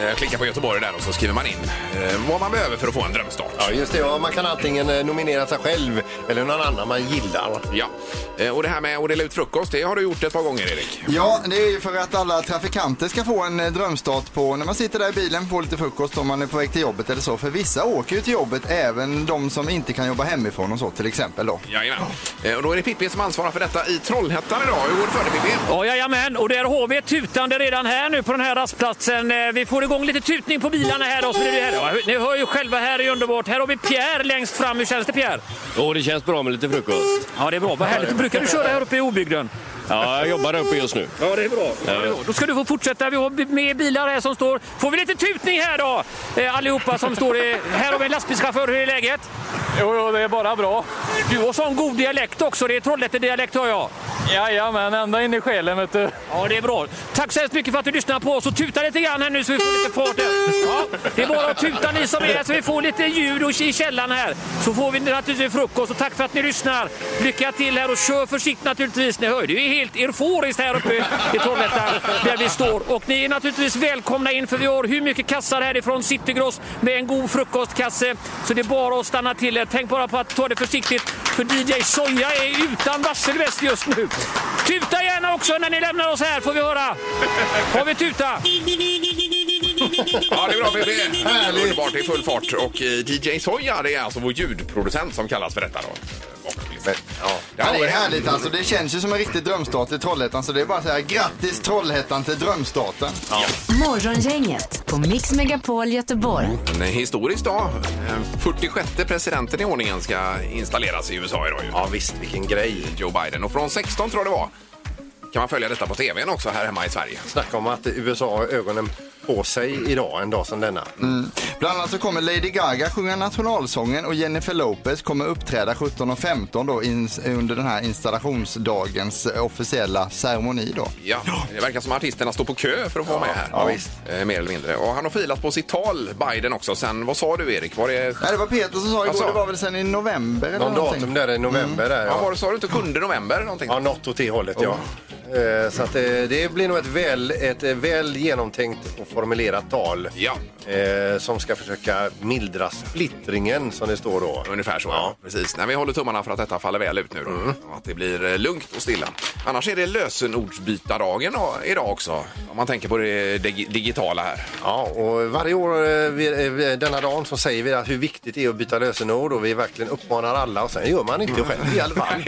[SPEAKER 3] eh, klickar på Göteborg där och så skriver man in eh, vad man behöver för att få en drömstart.
[SPEAKER 5] Ja, just det. Ja, man kan antingen eh, nominera sig själv eller någon annan man gillar.
[SPEAKER 3] Ja, Eh, och det här med att dela ut frukost, det har du gjort ett par gånger Erik.
[SPEAKER 4] Ja, det är ju för att alla trafikanter ska få en eh, drömstart på när man sitter där i bilen, får lite frukost om man är på väg till jobbet eller så. För vissa åker ju till jobbet, även de som inte kan jobba hemifrån och så till exempel då.
[SPEAKER 3] Jajamän. Eh, Och då är det Pippi som ansvarar för detta i Trollhättan idag. Hur går det för dig Pippi?
[SPEAKER 9] Ja, jajamän, och det är HV tutande redan här nu på den här rastplatsen. Eh, Vi får igång lite tutning på bilarna här. Och så blir det här. Ja, Ni hör ju själva, här är underbart. Här har vi Pierre längst fram. Hur känns det Pierre?
[SPEAKER 10] Jo, det känns bra med lite frukost.
[SPEAKER 9] Ja, det är bra. Vad härligt. Brukar du köra här uppe i obygden?
[SPEAKER 10] Ja, jag jobbar där uppe just nu.
[SPEAKER 9] Ja, det är bra. Då ska du få fortsätta. Vi har b- med bilar här som står. Får vi lite tutning här då? Eh, Allihopa som står i... Här har vi en lastbilschaufför. Hur är läget? Jo, jo, det är bara bra. Du har sån god dialekt också. Det är Trollhättedialekt hör jag. Jajamän, ända in i själen vet du. Ja, det är bra. Tack så hemskt mycket för att du lyssnar på oss och tuta lite grann här nu så vi får lite fart. här. Ja, det är bara att tuta ni som är här så vi får lite ljud och i källaren här. Så får vi naturligtvis frukost och tack för att ni lyssnar. Lycka till här och kör försiktigt naturligtvis. Ni hör, det är helt euforiskt här uppe i Trollhättan där vi står. Och ni är naturligtvis välkomna in för vi har hur mycket kassar härifrån Citygross med en god frukostkasse. Så det är bara att stanna till er. Tänk bara på att ta det försiktigt för DJ Soja är utan varselväst just nu. Tuta gärna också när ni lämnar oss här får vi höra. Har vi tuta?
[SPEAKER 3] Ja, det är bra Pippi. Härligt. Underbart, det är full fart. Och eh, DJ Soja, det är alltså vår ljudproducent som kallas för detta då. Och
[SPEAKER 5] Men, ja.
[SPEAKER 4] Ja, det är härligt alltså. Det känns ju som en riktig drömstart i Trollhättan. Så det är bara att säga grattis Trollhättan till drömstarten.
[SPEAKER 2] Morgongänget på Mix Megapol Göteborg.
[SPEAKER 3] En historisk dag. Eh, 46 presidenten i ordningen ska installeras i USA idag. Ju. Ja visst, vilken grej. Joe Biden. Och från 16 tror jag det var kan man följa detta på tvn också här hemma i Sverige.
[SPEAKER 5] Snacka om att USA har ögonen på sig idag, en dag som denna.
[SPEAKER 4] Mm. Bland annat så kommer Lady Gaga sjunga nationalsången och Jennifer Lopez kommer uppträda 17.15 då ins- under den här installationsdagens eh, officiella ceremoni då.
[SPEAKER 3] Ja, det verkar som att artisterna står på kö för att få vara med här.
[SPEAKER 4] ja, visst.
[SPEAKER 3] Eh, mer eller mindre. Och han har filat på sitt tal, Biden också. Sen, vad sa du Erik? Var det...
[SPEAKER 4] Nej, det var Peter som sa igår,
[SPEAKER 3] Alltså.
[SPEAKER 4] det var väl sen i november eller
[SPEAKER 5] Någon
[SPEAKER 4] någonting?
[SPEAKER 5] datum där i november. Där,
[SPEAKER 3] Mm. Ja,
[SPEAKER 5] ja.
[SPEAKER 3] var det, sa du inte 7 november eller någonting?
[SPEAKER 5] Ja, något åt det hållet, ja. Eh, Så att eh, det blir nog ett väl, ett eh, väl genomtänkt och formulerat tal
[SPEAKER 3] Ja.
[SPEAKER 5] eh, som ska försöka mildra splittringen, som det står då.
[SPEAKER 3] Ungefär så, ja. Precis. Nej, vi håller tummarna för att detta faller väl ut nu. Då. Och att det blir eh, lugnt och stilla. Annars är det lösenordsbytardagen då- idag också. Om man tänker på det dig- digitala här.
[SPEAKER 5] Ja, och varje år eh, vi- eh, vi- denna dagen så säger vi att hur viktigt det är att byta lösenord och vi verkligen uppmanar alla och sen gör man inte det själv i alla fall.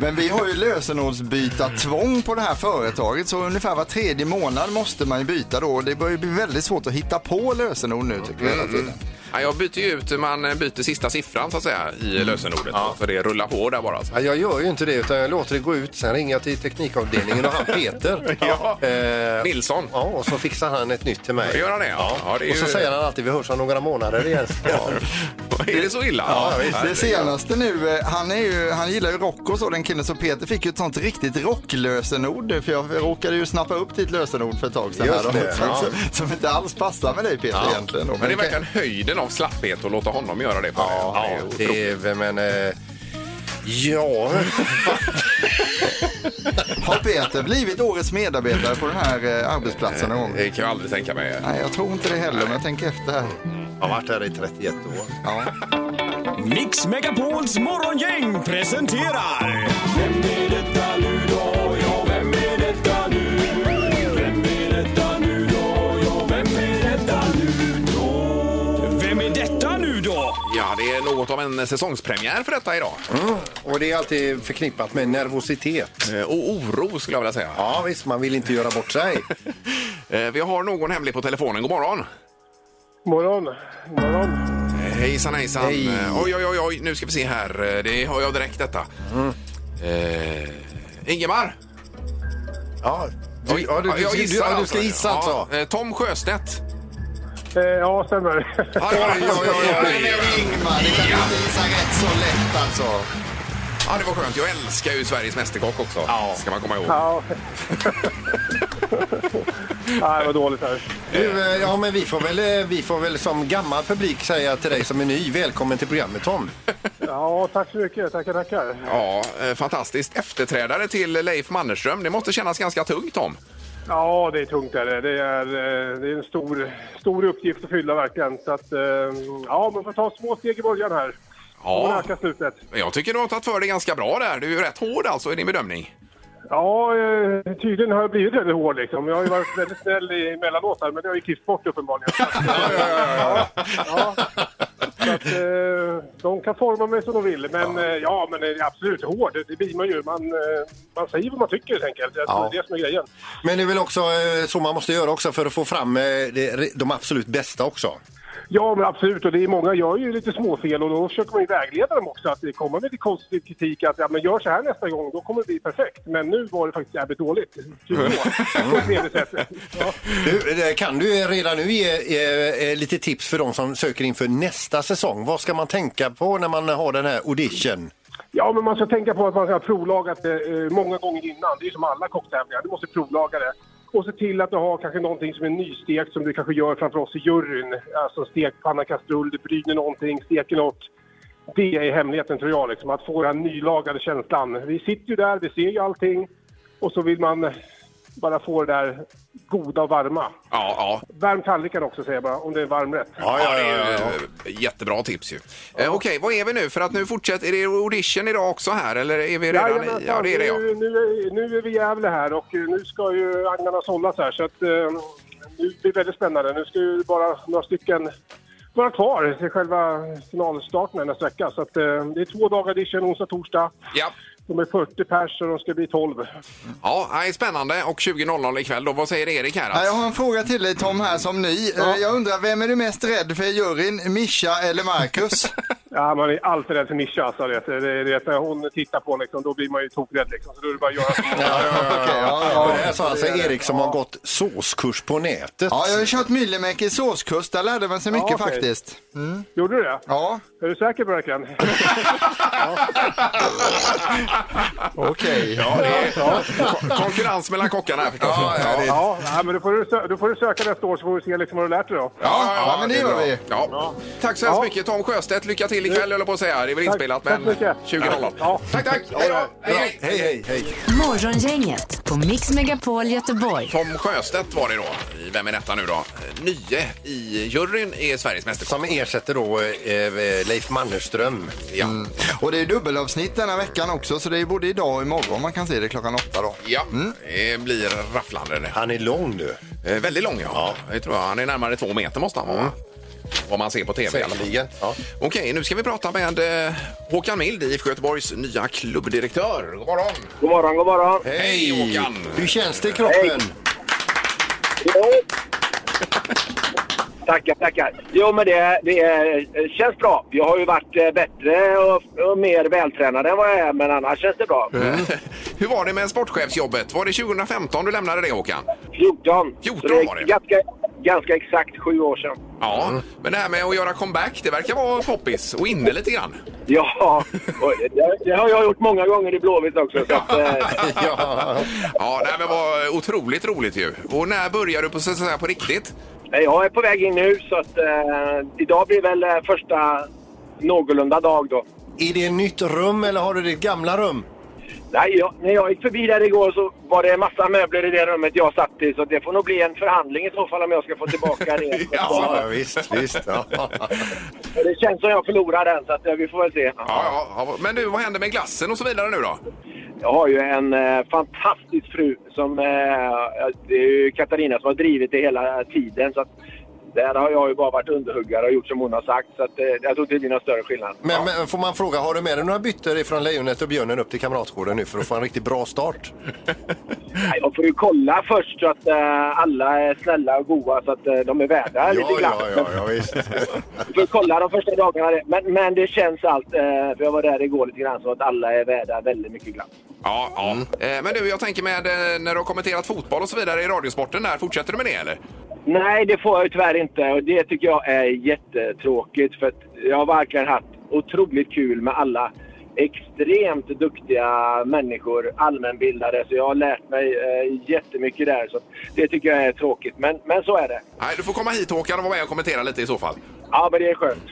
[SPEAKER 4] Men vi har ju lösenordsbyta tvång på det här företaget så ungefär var tredje månad måste man ju byta då. Det börjar ju bli väldigt svårt att hitta på lösenord nu tycker jag hela tiden.
[SPEAKER 3] Ja, jag byter ju ut, man byter sista siffran så att säga i lösenordet. Så det rullar på där bara.
[SPEAKER 5] Ja, jag gör ju inte det utan jag låter det gå ut. Sen ringer jag till teknikavdelningen och han Peter.
[SPEAKER 3] Ja.
[SPEAKER 5] eh,
[SPEAKER 3] Nilsson.
[SPEAKER 5] Ja, och så fixar han ett nytt till mig.
[SPEAKER 3] Gör han det? Ja. Ja, det är
[SPEAKER 5] och så
[SPEAKER 3] ju-
[SPEAKER 5] säger han alltid vi hörs om några månader igen. Ja.
[SPEAKER 3] Är det så illa?
[SPEAKER 5] Ja, visst.
[SPEAKER 4] Det senaste nu, eh, han, är ju, han gillar ju rock och så den killen så Peter fick ju ett sånt riktigt rocklösenord nu, för jag råkade ju snappa upp ditt lösenord för ett tag sedan.
[SPEAKER 5] Just
[SPEAKER 4] här, då,
[SPEAKER 5] det,
[SPEAKER 4] som,
[SPEAKER 5] ja.
[SPEAKER 4] som inte alls passar med dig Peter egentligen. Då.
[SPEAKER 3] Men det är
[SPEAKER 4] kan-
[SPEAKER 3] verkligen höjden av slapphet att låta honom göra det för dig.
[SPEAKER 5] Ja,
[SPEAKER 3] Det är otroligt.
[SPEAKER 5] det är, men... Eh, ja,
[SPEAKER 4] Har Peter blivit årets medarbetare på den här eh, arbetsplatsen någon gång?
[SPEAKER 3] det kan jag aldrig tänka mig.
[SPEAKER 4] Nej, jag tror inte det heller, men jag tänker efter här.
[SPEAKER 5] jag har varit här i 31 år.
[SPEAKER 4] Ja.
[SPEAKER 11] Mix Megapols morgongäng presenterar... Vem är detta nu då?
[SPEAKER 3] Ja, det är något av en säsongspremiär för detta idag.
[SPEAKER 5] Och det är alltid förknippat med nervositet.
[SPEAKER 3] Eh, Och oro skulle jag vilja säga.
[SPEAKER 5] Ja, visst, man vill inte göra bort sig.
[SPEAKER 3] Eh, Vi har någon hemlig på telefonen. God morgon!
[SPEAKER 9] Morgon. Morgon.
[SPEAKER 3] Eh, Hejsan hejsan!
[SPEAKER 5] Hej.
[SPEAKER 3] Eh, Oj, oj, oj, oj, nu ska vi se här. Eh, Det har jag direkt detta.
[SPEAKER 5] Mm.
[SPEAKER 3] Eh, Ingemar!
[SPEAKER 5] Ja, du, ja, du,
[SPEAKER 3] Ja,
[SPEAKER 5] du,
[SPEAKER 3] jag
[SPEAKER 5] du,
[SPEAKER 3] gissar
[SPEAKER 5] ja, du ska gissa alltså.
[SPEAKER 3] Ja, eh, Tom Sjöstedt.
[SPEAKER 9] Eh, ja, stämmer.
[SPEAKER 3] Oj, oj, oj, oj.
[SPEAKER 4] Ingmar, det kan du inte gissa rätt så lätt alltså.
[SPEAKER 3] Ja, det var skönt. Jag älskar ju Sveriges Mästerkock också. Ska man komma ihåg.
[SPEAKER 9] Ja. Nej, vad dåligt här.
[SPEAKER 5] Du, eh, ja, men vi får, väl, eh, vi får väl som gammal publik säga till dig som är ny, välkommen till programmet Tom.
[SPEAKER 9] Ja, tack så mycket. Tackar, tackar.
[SPEAKER 3] Ja, eh, fantastiskt. Efterträdare till Leif Mannerström. Det måste kännas ganska tungt, Tom.
[SPEAKER 9] Ja, det är tungt är det. Det är, eh, det är en stor, stor uppgift att fylla verkligen. Så att, eh, ja, man får ta små steg i början här. Och
[SPEAKER 3] Ja,
[SPEAKER 9] öka slutet.
[SPEAKER 3] jag tycker du har tagit för dig ganska bra där. Du är ju rätt hård alltså i din bedömning.
[SPEAKER 9] Ja, eh, tydligen har jag blivit väldigt hård liksom. Jag har ju varit väldigt snäll i- emellanåt här, men det har ju klippt bort uppenbarligen. Så att, eh, ja. Så att, eh, de kan forma mig som de vill, men ja, ja men eh, absolut hård. Det blir man ju. Man, eh, man säger vad man tycker helt enkelt. Jag tror
[SPEAKER 5] Ja.
[SPEAKER 9] Det är det som är grejen.
[SPEAKER 5] Men det är väl också eh, så man måste göra också för att få fram eh, det- de absolut bästa också.
[SPEAKER 9] Ja, men absolut. Och det är många gör ju lite småfel och då försöker man ju vägleda dem också. Att det kommer lite konstig kritik att ja, men gör så här nästa gång, då kommer det bli perfekt. Men nu var det faktiskt jävligt dåligt. Typ så. På ett trevligt sätt. Ja.
[SPEAKER 5] Du, eh, kan du eh, redan nu ge eh, eh, lite tips för de som söker inför nästa säsong? Vad ska man tänka på när man har den här audition?
[SPEAKER 9] ja, men man ska tänka på att man har provlagat det eh, många gånger innan. Det är som alla kocktävlingar, du måste provlaga det. Och se till att du har kanske någonting som är nystekt som du kanske gör framför oss i juryn. Alltså stekpanna, kastrull, du bryner någonting, steker något. det är hemligheten tror jag, liksom, att få den här nylagade känslan. Vi sitter ju där, vi ser ju allting och så vill man bara få det där goda och varma.
[SPEAKER 3] Ja, ja.
[SPEAKER 9] Värm tallriken också säger jag bara, om det är varmrätt.
[SPEAKER 3] Ja, det är ju eh, jättebra tips ju. Eh, Okej, vad är vi nu? För att nu fortsätter, är det audition idag också här eller är vi redan i?
[SPEAKER 9] Jajamensan,
[SPEAKER 3] Ja, det är det ja.
[SPEAKER 9] Nu, nu, är- nu är vi i Gävle här och eh, nu ska ju agnarna sållas här så att eh, nu blir det väldigt spännande. Nu ska ju bara några stycken
[SPEAKER 12] några kvar till själva finalstarten här nästa vecka. Så att, eh, det är två dagar edition, onsdag, torsdag.
[SPEAKER 3] Ja.
[SPEAKER 12] De är 40 pers och de ska bli 12.
[SPEAKER 3] Ja, nej, spännande. Och 20.00 ikväll då. Vad säger Erik här? alltså?
[SPEAKER 4] Ja, Jag har en fråga till dig Tom här som ny. Eh, Jag undrar, vem är du mest rädd för i juryn? Mischa eller Marcus?
[SPEAKER 12] Ja, man är alltid rädd för Mischa. Alltså, det, det, det, när hon tittar på liksom, då blir man ju tokrädd. Liksom, så då är det bara att göra som hon gör.
[SPEAKER 5] Och det här sa alltså Erik som har gått såskurs på nätet.
[SPEAKER 4] Ja, jag har ju kört Myllymäki i såskurs. Där lärde man sig mycket
[SPEAKER 12] Ja, okej.
[SPEAKER 4] faktiskt.
[SPEAKER 12] Gjorde du det?
[SPEAKER 4] Ja.
[SPEAKER 12] Är du säker på det verkligen?
[SPEAKER 4] Okej.
[SPEAKER 3] Ja, det är Ko- konkurrens mellan kockarna här förstås. Ja,
[SPEAKER 12] Ja, ja, men då får, du sö- då får du söka nästa år så får vi se liksom vad du lärt dig då.
[SPEAKER 3] men det gör vi. Ja. Tack så hemskt mycket Tom Sjöstedt. Lycka till ikväll höll jag på att säga. Det är väl
[SPEAKER 12] Tack.
[SPEAKER 3] inspelat
[SPEAKER 12] Tack
[SPEAKER 3] men
[SPEAKER 12] så mycket.
[SPEAKER 3] 20.00. Tack, tack. Hej då. Hej, hej. hej, hej.
[SPEAKER 2] Morgongänget på Mix Megapol Göteborg.
[SPEAKER 3] Tom Sjöstedt var det då. I Vem är detta nu då? Nye i juryn är Sveriges mästerkock.
[SPEAKER 5] Som ersätter då eh, Leif Mannerström.
[SPEAKER 3] Ja.
[SPEAKER 4] Mm. Och det är dubbelavsnitt denna veckan också, så det är både idag och imorgon man kan se det klockan åtta då.
[SPEAKER 3] Ja, det blir rafflande. det.
[SPEAKER 5] Han är lång nu.
[SPEAKER 3] Eh, väldigt lång, ja. Det tror jag. Han är närmare två meter måste han vara, va? Vad man ser på tv i alla fall.
[SPEAKER 5] Säkerligen. Ja.
[SPEAKER 3] Okej, nu ska vi prata med eh, Håkan Mild, IFK Göteborgs nya klubbdirektör. God morgon!
[SPEAKER 9] God morgon, god morgon.
[SPEAKER 3] Hej Håkan!
[SPEAKER 5] Hur känns det i kroppen?
[SPEAKER 9] Jo. Tackar, tackar. Jo, men det, det är, känns bra. Jag har ju varit eh, bättre och, och mer vältränad än vad jag är, men annars känns det bra.
[SPEAKER 3] Hur var det med sportchefsjobbet? Var det 2015 du lämnade det Håkan?
[SPEAKER 9] 14.
[SPEAKER 3] 14
[SPEAKER 9] Så det är
[SPEAKER 3] var det.
[SPEAKER 9] Ganska, ganska exakt sju år sedan.
[SPEAKER 3] Ja,
[SPEAKER 5] Mm.
[SPEAKER 3] men det här med att göra comeback, det verkar vara poppis och inne lite grann.
[SPEAKER 9] Ja, och det, det har jag gjort många gånger i Blåvitt också. Så att, eh,
[SPEAKER 3] ja, nej, men var otroligt roligt ju. Och när börjar du på, så att säga, på riktigt?
[SPEAKER 9] jag är på väg in nu, så att, eh, idag blir väl eh, första någorlunda dag då.
[SPEAKER 5] Är det ett nytt rum eller har du ditt gamla rum?
[SPEAKER 9] Nej, jag, när jag gick förbi där igår så var det en massa möbler i det rummet jag satt i. Så det får nog bli en förhandling i så fall om jag ska få tillbaka det.
[SPEAKER 5] Ja, visst, visst. Ja.
[SPEAKER 9] Det känns som jag förlorar den så att, eh, vi får väl se.
[SPEAKER 3] Ja, ja, ja. Men du, vad händer med glassen och så vidare nu då?
[SPEAKER 9] Jag har ju en eh, fantastisk fru som... Eh, det är ju Katarina som har drivit det hela tiden. Så att, där har jag ju bara varit underhuggare och gjort som hon har sagt. Så att, eh, jag tror inte det blir någon större skillnad.
[SPEAKER 5] Men, men får man fråga, har du med dig några byttor ifrån Lejonet och Björnen upp till Kamratgården nu för att få en riktigt bra start?
[SPEAKER 9] Nej, Jag får ju kolla först så att eh, alla är snälla och goa så att eh, de är värda lite glass.
[SPEAKER 5] ja, visst.
[SPEAKER 9] Jag får kolla de första dagarna. det. Men, men det känns allt, eh, för jag var där igår lite grann, så att alla är värda väldigt mycket glass.
[SPEAKER 3] Ja, ja.
[SPEAKER 5] Mm.
[SPEAKER 3] Eh, Men du, jag tänker med eh, när du har kommenterat fotboll och så vidare i Radiosporten där, fortsätter du med det eller?
[SPEAKER 9] Nej, det får jag ju tyvärr inte och det tycker jag är jättetråkigt för att jag har verkligen haft otroligt kul med alla extremt duktiga människor, allmänbildare, så jag har lärt mig eh, jättemycket där. Så att det tycker jag är tråkigt, men, men så är det.
[SPEAKER 3] Nej, du får komma hit Håkan och vara med och kommentera lite i så fall.
[SPEAKER 9] Ja, men det är skönt.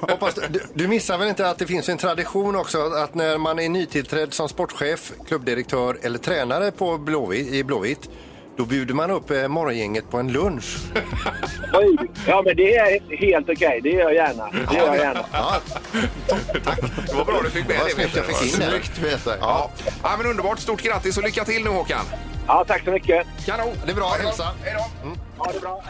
[SPEAKER 5] Hoppas du, du- du missar väl inte att det finns en tradition också att när man är nytillträdd som sportchef, klubbdirektör eller tränare på Blåvitt, i Blåvitt då bjuder man upp eh, morgongänget på en lunch.
[SPEAKER 9] Oj. Ja, men det är helt okej. Det gör jag gärna. Det gör jag gärna.
[SPEAKER 5] Ja,
[SPEAKER 3] Det var bra du fick med
[SPEAKER 5] Vad
[SPEAKER 3] det.
[SPEAKER 5] snyggt
[SPEAKER 3] vet du.
[SPEAKER 5] jag fick in det.
[SPEAKER 4] Snyggt vet jag.
[SPEAKER 3] Ja. ja, men underbart. Stort grattis och lycka till nu Håkan.
[SPEAKER 9] Ja, tack så mycket.
[SPEAKER 3] Kanon.
[SPEAKER 5] det är bra. Hälsa!
[SPEAKER 3] Hej då.
[SPEAKER 9] Ha det bra.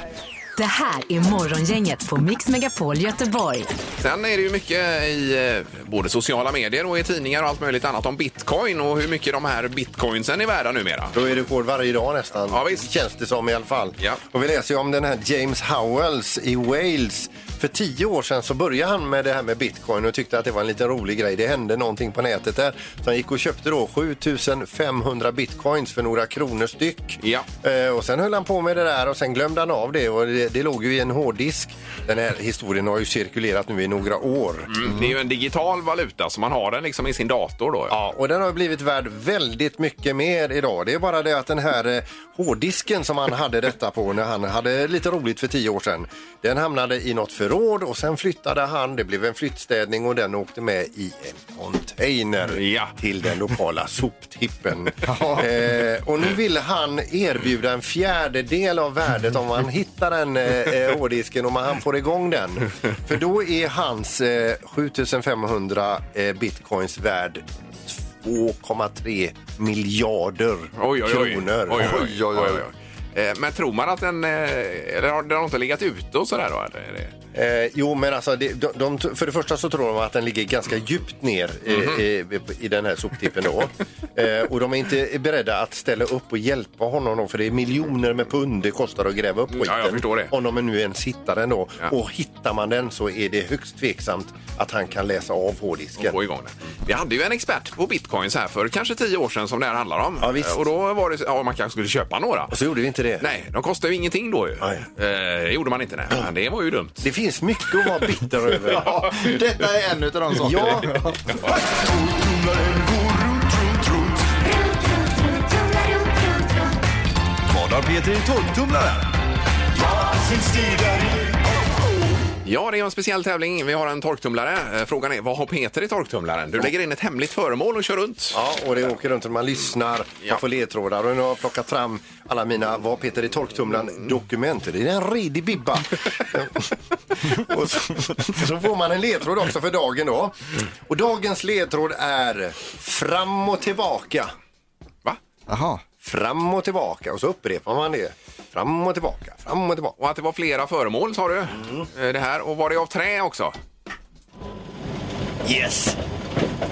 [SPEAKER 2] Det här är Morgongänget på Mix Megapol Göteborg.
[SPEAKER 3] Sen är det ju mycket i eh, både sociala medier och i tidningar och allt möjligt annat om bitcoin och hur mycket de här bitcoinsen är värda numera.
[SPEAKER 5] Då är det rekord varje dag nästan.
[SPEAKER 3] Ja, visst.
[SPEAKER 5] Känns det som i alla fall.
[SPEAKER 3] Ja.
[SPEAKER 5] Och vi läser ju om den här James Howells i Wales. För tio år sedan så började han med det här med bitcoin och tyckte att det var en liten rolig grej. Det hände någonting på nätet där. Så han gick och köpte då 7500 bitcoins för några kronor styck.
[SPEAKER 3] Ja.
[SPEAKER 5] Eh, Och sen höll han på med det där och sen glömde han av det och det, det låg ju i en hårddisk. Den här historien har ju cirkulerat nu i några år.
[SPEAKER 3] Mm. Det är ju en digital valuta så man har den liksom i sin dator då.
[SPEAKER 5] Ja, och den har blivit värd väldigt mycket mer idag. Det är bara det att den här eh, hårddisken som han hade detta på när han hade lite roligt för tio år sedan. Den hamnade i något förråd och sen flyttade han. Det blev en flyttstädning och den åkte med i en container
[SPEAKER 3] Ja.
[SPEAKER 5] till den lokala soptippen. eh, och nu vill han erbjuda en fjärdedel av värdet om han hittar den eh, eh, hårddisken och om han får igång den. För då är hans eh, 7500 eh, bitcoins värd 2,3 miljarder
[SPEAKER 3] Oj, oj, oj.
[SPEAKER 5] kronor.
[SPEAKER 3] Oj, oj, oj, oj, oj. Eh, Men tror man att den... eh, Eller har den har inte legat ute och sådär då? eller är det-
[SPEAKER 5] Eh, jo, men alltså, det, de, de, för det första så tror de att den ligger ganska djupt ner i,
[SPEAKER 3] Mhm.
[SPEAKER 5] i, i den här soptippen då. eh, och de är inte beredda att ställa upp och hjälpa honom då, för det är miljoner med pund det kostar att gräva upp skiten.
[SPEAKER 3] Ja, jag förstår det.
[SPEAKER 5] Om de nu ens hittar den då.
[SPEAKER 3] Ja.
[SPEAKER 5] Och hittar man den så är det högst tveksamt att han kan läsa av hårdisken.
[SPEAKER 3] Och få igång den. Vi hade ju en expert på bitcoins här för kanske tio år sedan som det här handlar om. Eh, Och då var det, ja man kanske skulle köpa några. Och
[SPEAKER 5] så gjorde vi inte det.
[SPEAKER 3] Nej, de kostar ju ingenting då ju. Eh, det gjorde man inte, nej. Men det var ju dumt.
[SPEAKER 5] Det finns mycket att vara bitter över.
[SPEAKER 4] Ja, detta är en av de sakerna.
[SPEAKER 5] Ja.
[SPEAKER 13] Vad har Peter i torktumlaren?
[SPEAKER 3] Ja, det är en speciell tävling. Vi har en torktumlare. Eh, Frågan är, vad har Peter i torktumlaren? Du lägger in ett hemligt föremål och kör runt.
[SPEAKER 5] Ja, och det åker runt och man lyssnar, man får ledtrådar. Och nu har jag plockat fram alla mina Vad Peter i
[SPEAKER 3] Mm.
[SPEAKER 5] torktumlaren dokument. Det är en redig bibba. och så, så får man en ledtråd också för dagen då. Och dagens ledtråd är fram och tillbaka.
[SPEAKER 3] Va?
[SPEAKER 4] Jaha.
[SPEAKER 5] Fram och tillbaka och så upprepar man det. Fram och tillbaka, fram och tillbaka.
[SPEAKER 3] Och att det var flera föremål sa du.
[SPEAKER 5] Mm.
[SPEAKER 3] Eh, Det här. Och var det av trä också?
[SPEAKER 5] Yes!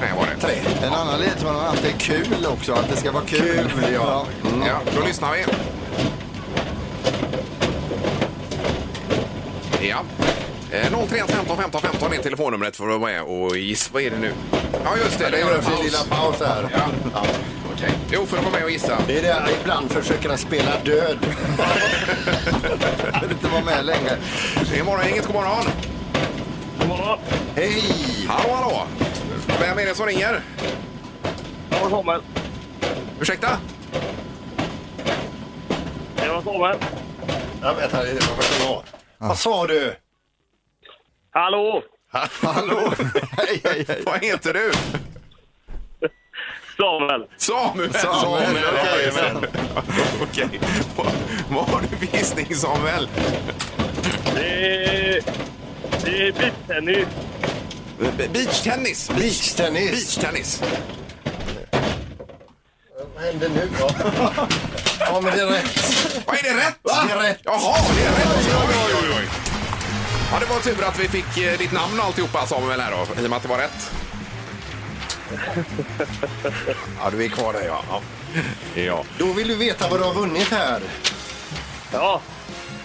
[SPEAKER 3] Trä var det.
[SPEAKER 5] Trä. Mm.
[SPEAKER 4] En annan ledtråd är att det är kul också, att det ska vara kul.
[SPEAKER 5] Kul, ja.
[SPEAKER 3] Ja, då lyssnar vi. Ja. Eh, 031 15 15 15 är telefonnumret för att vara med och gissa. Vad är det nu? Ja, just det. Det
[SPEAKER 5] Jag gör
[SPEAKER 3] är en
[SPEAKER 5] en fin
[SPEAKER 3] paus.
[SPEAKER 5] lilla paus här.
[SPEAKER 3] Ja. Okej. Jo, för att vara med och gissa.
[SPEAKER 5] Det är det här, ibland försöker han spela död.
[SPEAKER 4] vill inte vara med längre.
[SPEAKER 3] Det är Morgongänget. God morgon!
[SPEAKER 6] God morgon!
[SPEAKER 5] Hej!
[SPEAKER 3] Hallå, hallå! Vem är det som ringer?
[SPEAKER 6] Det var Samuel.
[SPEAKER 3] Ursäkta?
[SPEAKER 6] Det var Samuel.
[SPEAKER 5] Jag vet, här är det vad jag har. Vad sa du?
[SPEAKER 6] Hallå!
[SPEAKER 4] Hallå! Hej, hej, hej.
[SPEAKER 3] Vad heter du?
[SPEAKER 6] Samuel!
[SPEAKER 3] Samuel!
[SPEAKER 4] Samuel, okej.
[SPEAKER 3] jajamän. Okej. Vad- Vad har du för gissning, Samuel?
[SPEAKER 6] Det är... Det är beachtennis.
[SPEAKER 3] Be- Beachtennis!
[SPEAKER 5] Beachtennis.
[SPEAKER 3] Beachtennis.
[SPEAKER 5] Vad händer nu då? ja, men det är rätt.
[SPEAKER 3] Vad är det rätt?
[SPEAKER 5] Det är rätt.
[SPEAKER 3] Jaha, det är rätt! Oj, oj, oj, oj. Ja, det var tur att vi fick eh, ditt namn och alltihopa, Samuel, här då, i och med att det var rätt.
[SPEAKER 5] Ja, du är kvar där ja. ja.
[SPEAKER 3] Ja.
[SPEAKER 5] Då vill du veta vad du har vunnit här.
[SPEAKER 6] Ja,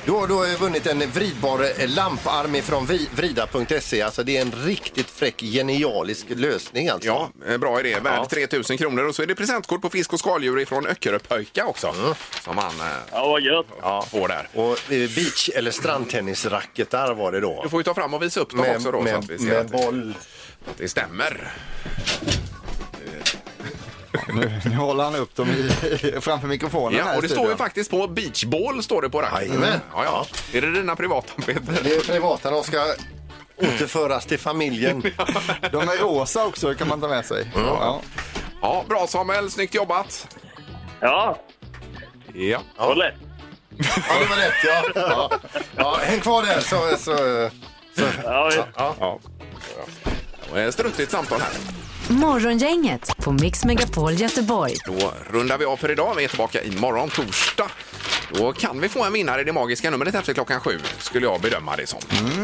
[SPEAKER 5] Du har, du har ju vunnit en vridbar eh, lamparm ifrån vi- vrida.se. Alltså det är en riktigt fräck genialisk lösning alltså.
[SPEAKER 3] Ja, eh, bra idé. Värd
[SPEAKER 5] Ja.
[SPEAKER 3] 3 000 kronor. Och så är det presentkort på fisk och skaldjur ifrån Öckeröpöjka också. Som han eh,
[SPEAKER 6] ja vad gött.
[SPEAKER 5] Ja.
[SPEAKER 3] får där.
[SPEAKER 5] Och eh, beach eller strandtennisracketar var det då.
[SPEAKER 3] Du får ju ta fram och visa upp dem också då, så att vi
[SPEAKER 5] med,
[SPEAKER 3] ser
[SPEAKER 5] med
[SPEAKER 3] att
[SPEAKER 5] boll.
[SPEAKER 3] det stämmer.
[SPEAKER 4] Nu, nu håller han upp dem i, framför mikrofonen här
[SPEAKER 3] Ja,
[SPEAKER 4] i
[SPEAKER 3] och det står
[SPEAKER 4] studion.
[SPEAKER 3] ju faktiskt på beachball står det på racken.
[SPEAKER 5] Jajamän.
[SPEAKER 3] Ja, ja. Är det dina privata, Peter?
[SPEAKER 5] Det är privata, de ska återföras till familjen.
[SPEAKER 4] De är rosa också, det kan man ta med sig. Ja.
[SPEAKER 3] Ja, bra Samuel, snyggt jobbat.
[SPEAKER 6] Ja,
[SPEAKER 3] Ja.
[SPEAKER 6] det var lätt.
[SPEAKER 5] Ja, det var rätt ja. ja. ja häng kvar där så... så
[SPEAKER 6] Ja, visst.
[SPEAKER 3] ja. Och ett Struttigt samtal här.
[SPEAKER 2] Morgongänget på Mix Megapol Göteborg.
[SPEAKER 3] Då rundar vi av för idag. Vi är tillbaka imorgon torsdag. Då kan vi få en vinnare i det magiska numret efter klockan sju, skulle jag bedöma det som.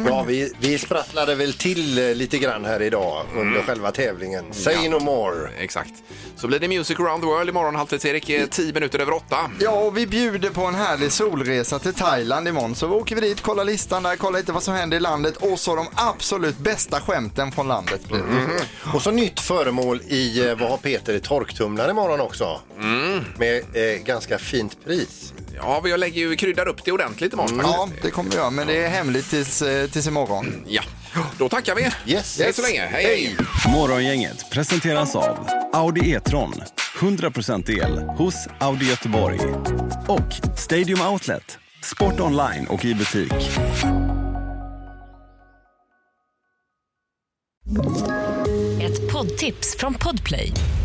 [SPEAKER 5] Ja, vi, vi sprattlade väl till eh, lite grann här idag under själva tävlingen. Say no more.
[SPEAKER 3] Exakt. Så blir det Music around the world imorgon. Halvtids-Erik är eh, tio minuter över åtta.
[SPEAKER 4] Ja, och vi bjuder på en härlig solresa till Thailand imorgon. Så åker vi dit, kollar listan där, kollar lite vad som händer i landet och så de absolut bästa skämten från landet. blir det.
[SPEAKER 3] Mm.
[SPEAKER 5] Och så nytt föremål i eh, Vad har Peter i torktumlaren imorgon också. Med eh, ganska fint pris.
[SPEAKER 3] Ja, vi lägger ju kryddar upp det ordentligt imorgon.
[SPEAKER 4] Ja,
[SPEAKER 3] faktiskt.
[SPEAKER 4] det kommer vi göra, men det är hemligt tills, eh, tills imorgon.
[SPEAKER 3] ja. Då tackar vi.
[SPEAKER 5] Yes.
[SPEAKER 3] Hej så länge. Hej, hej.
[SPEAKER 11] Morgongänget presenteras av Audi E-tron. 100% el hos Audi Göteborg. Och Stadium Outlet. Sport online och i butik.
[SPEAKER 14] Ett poddtips från Podplay.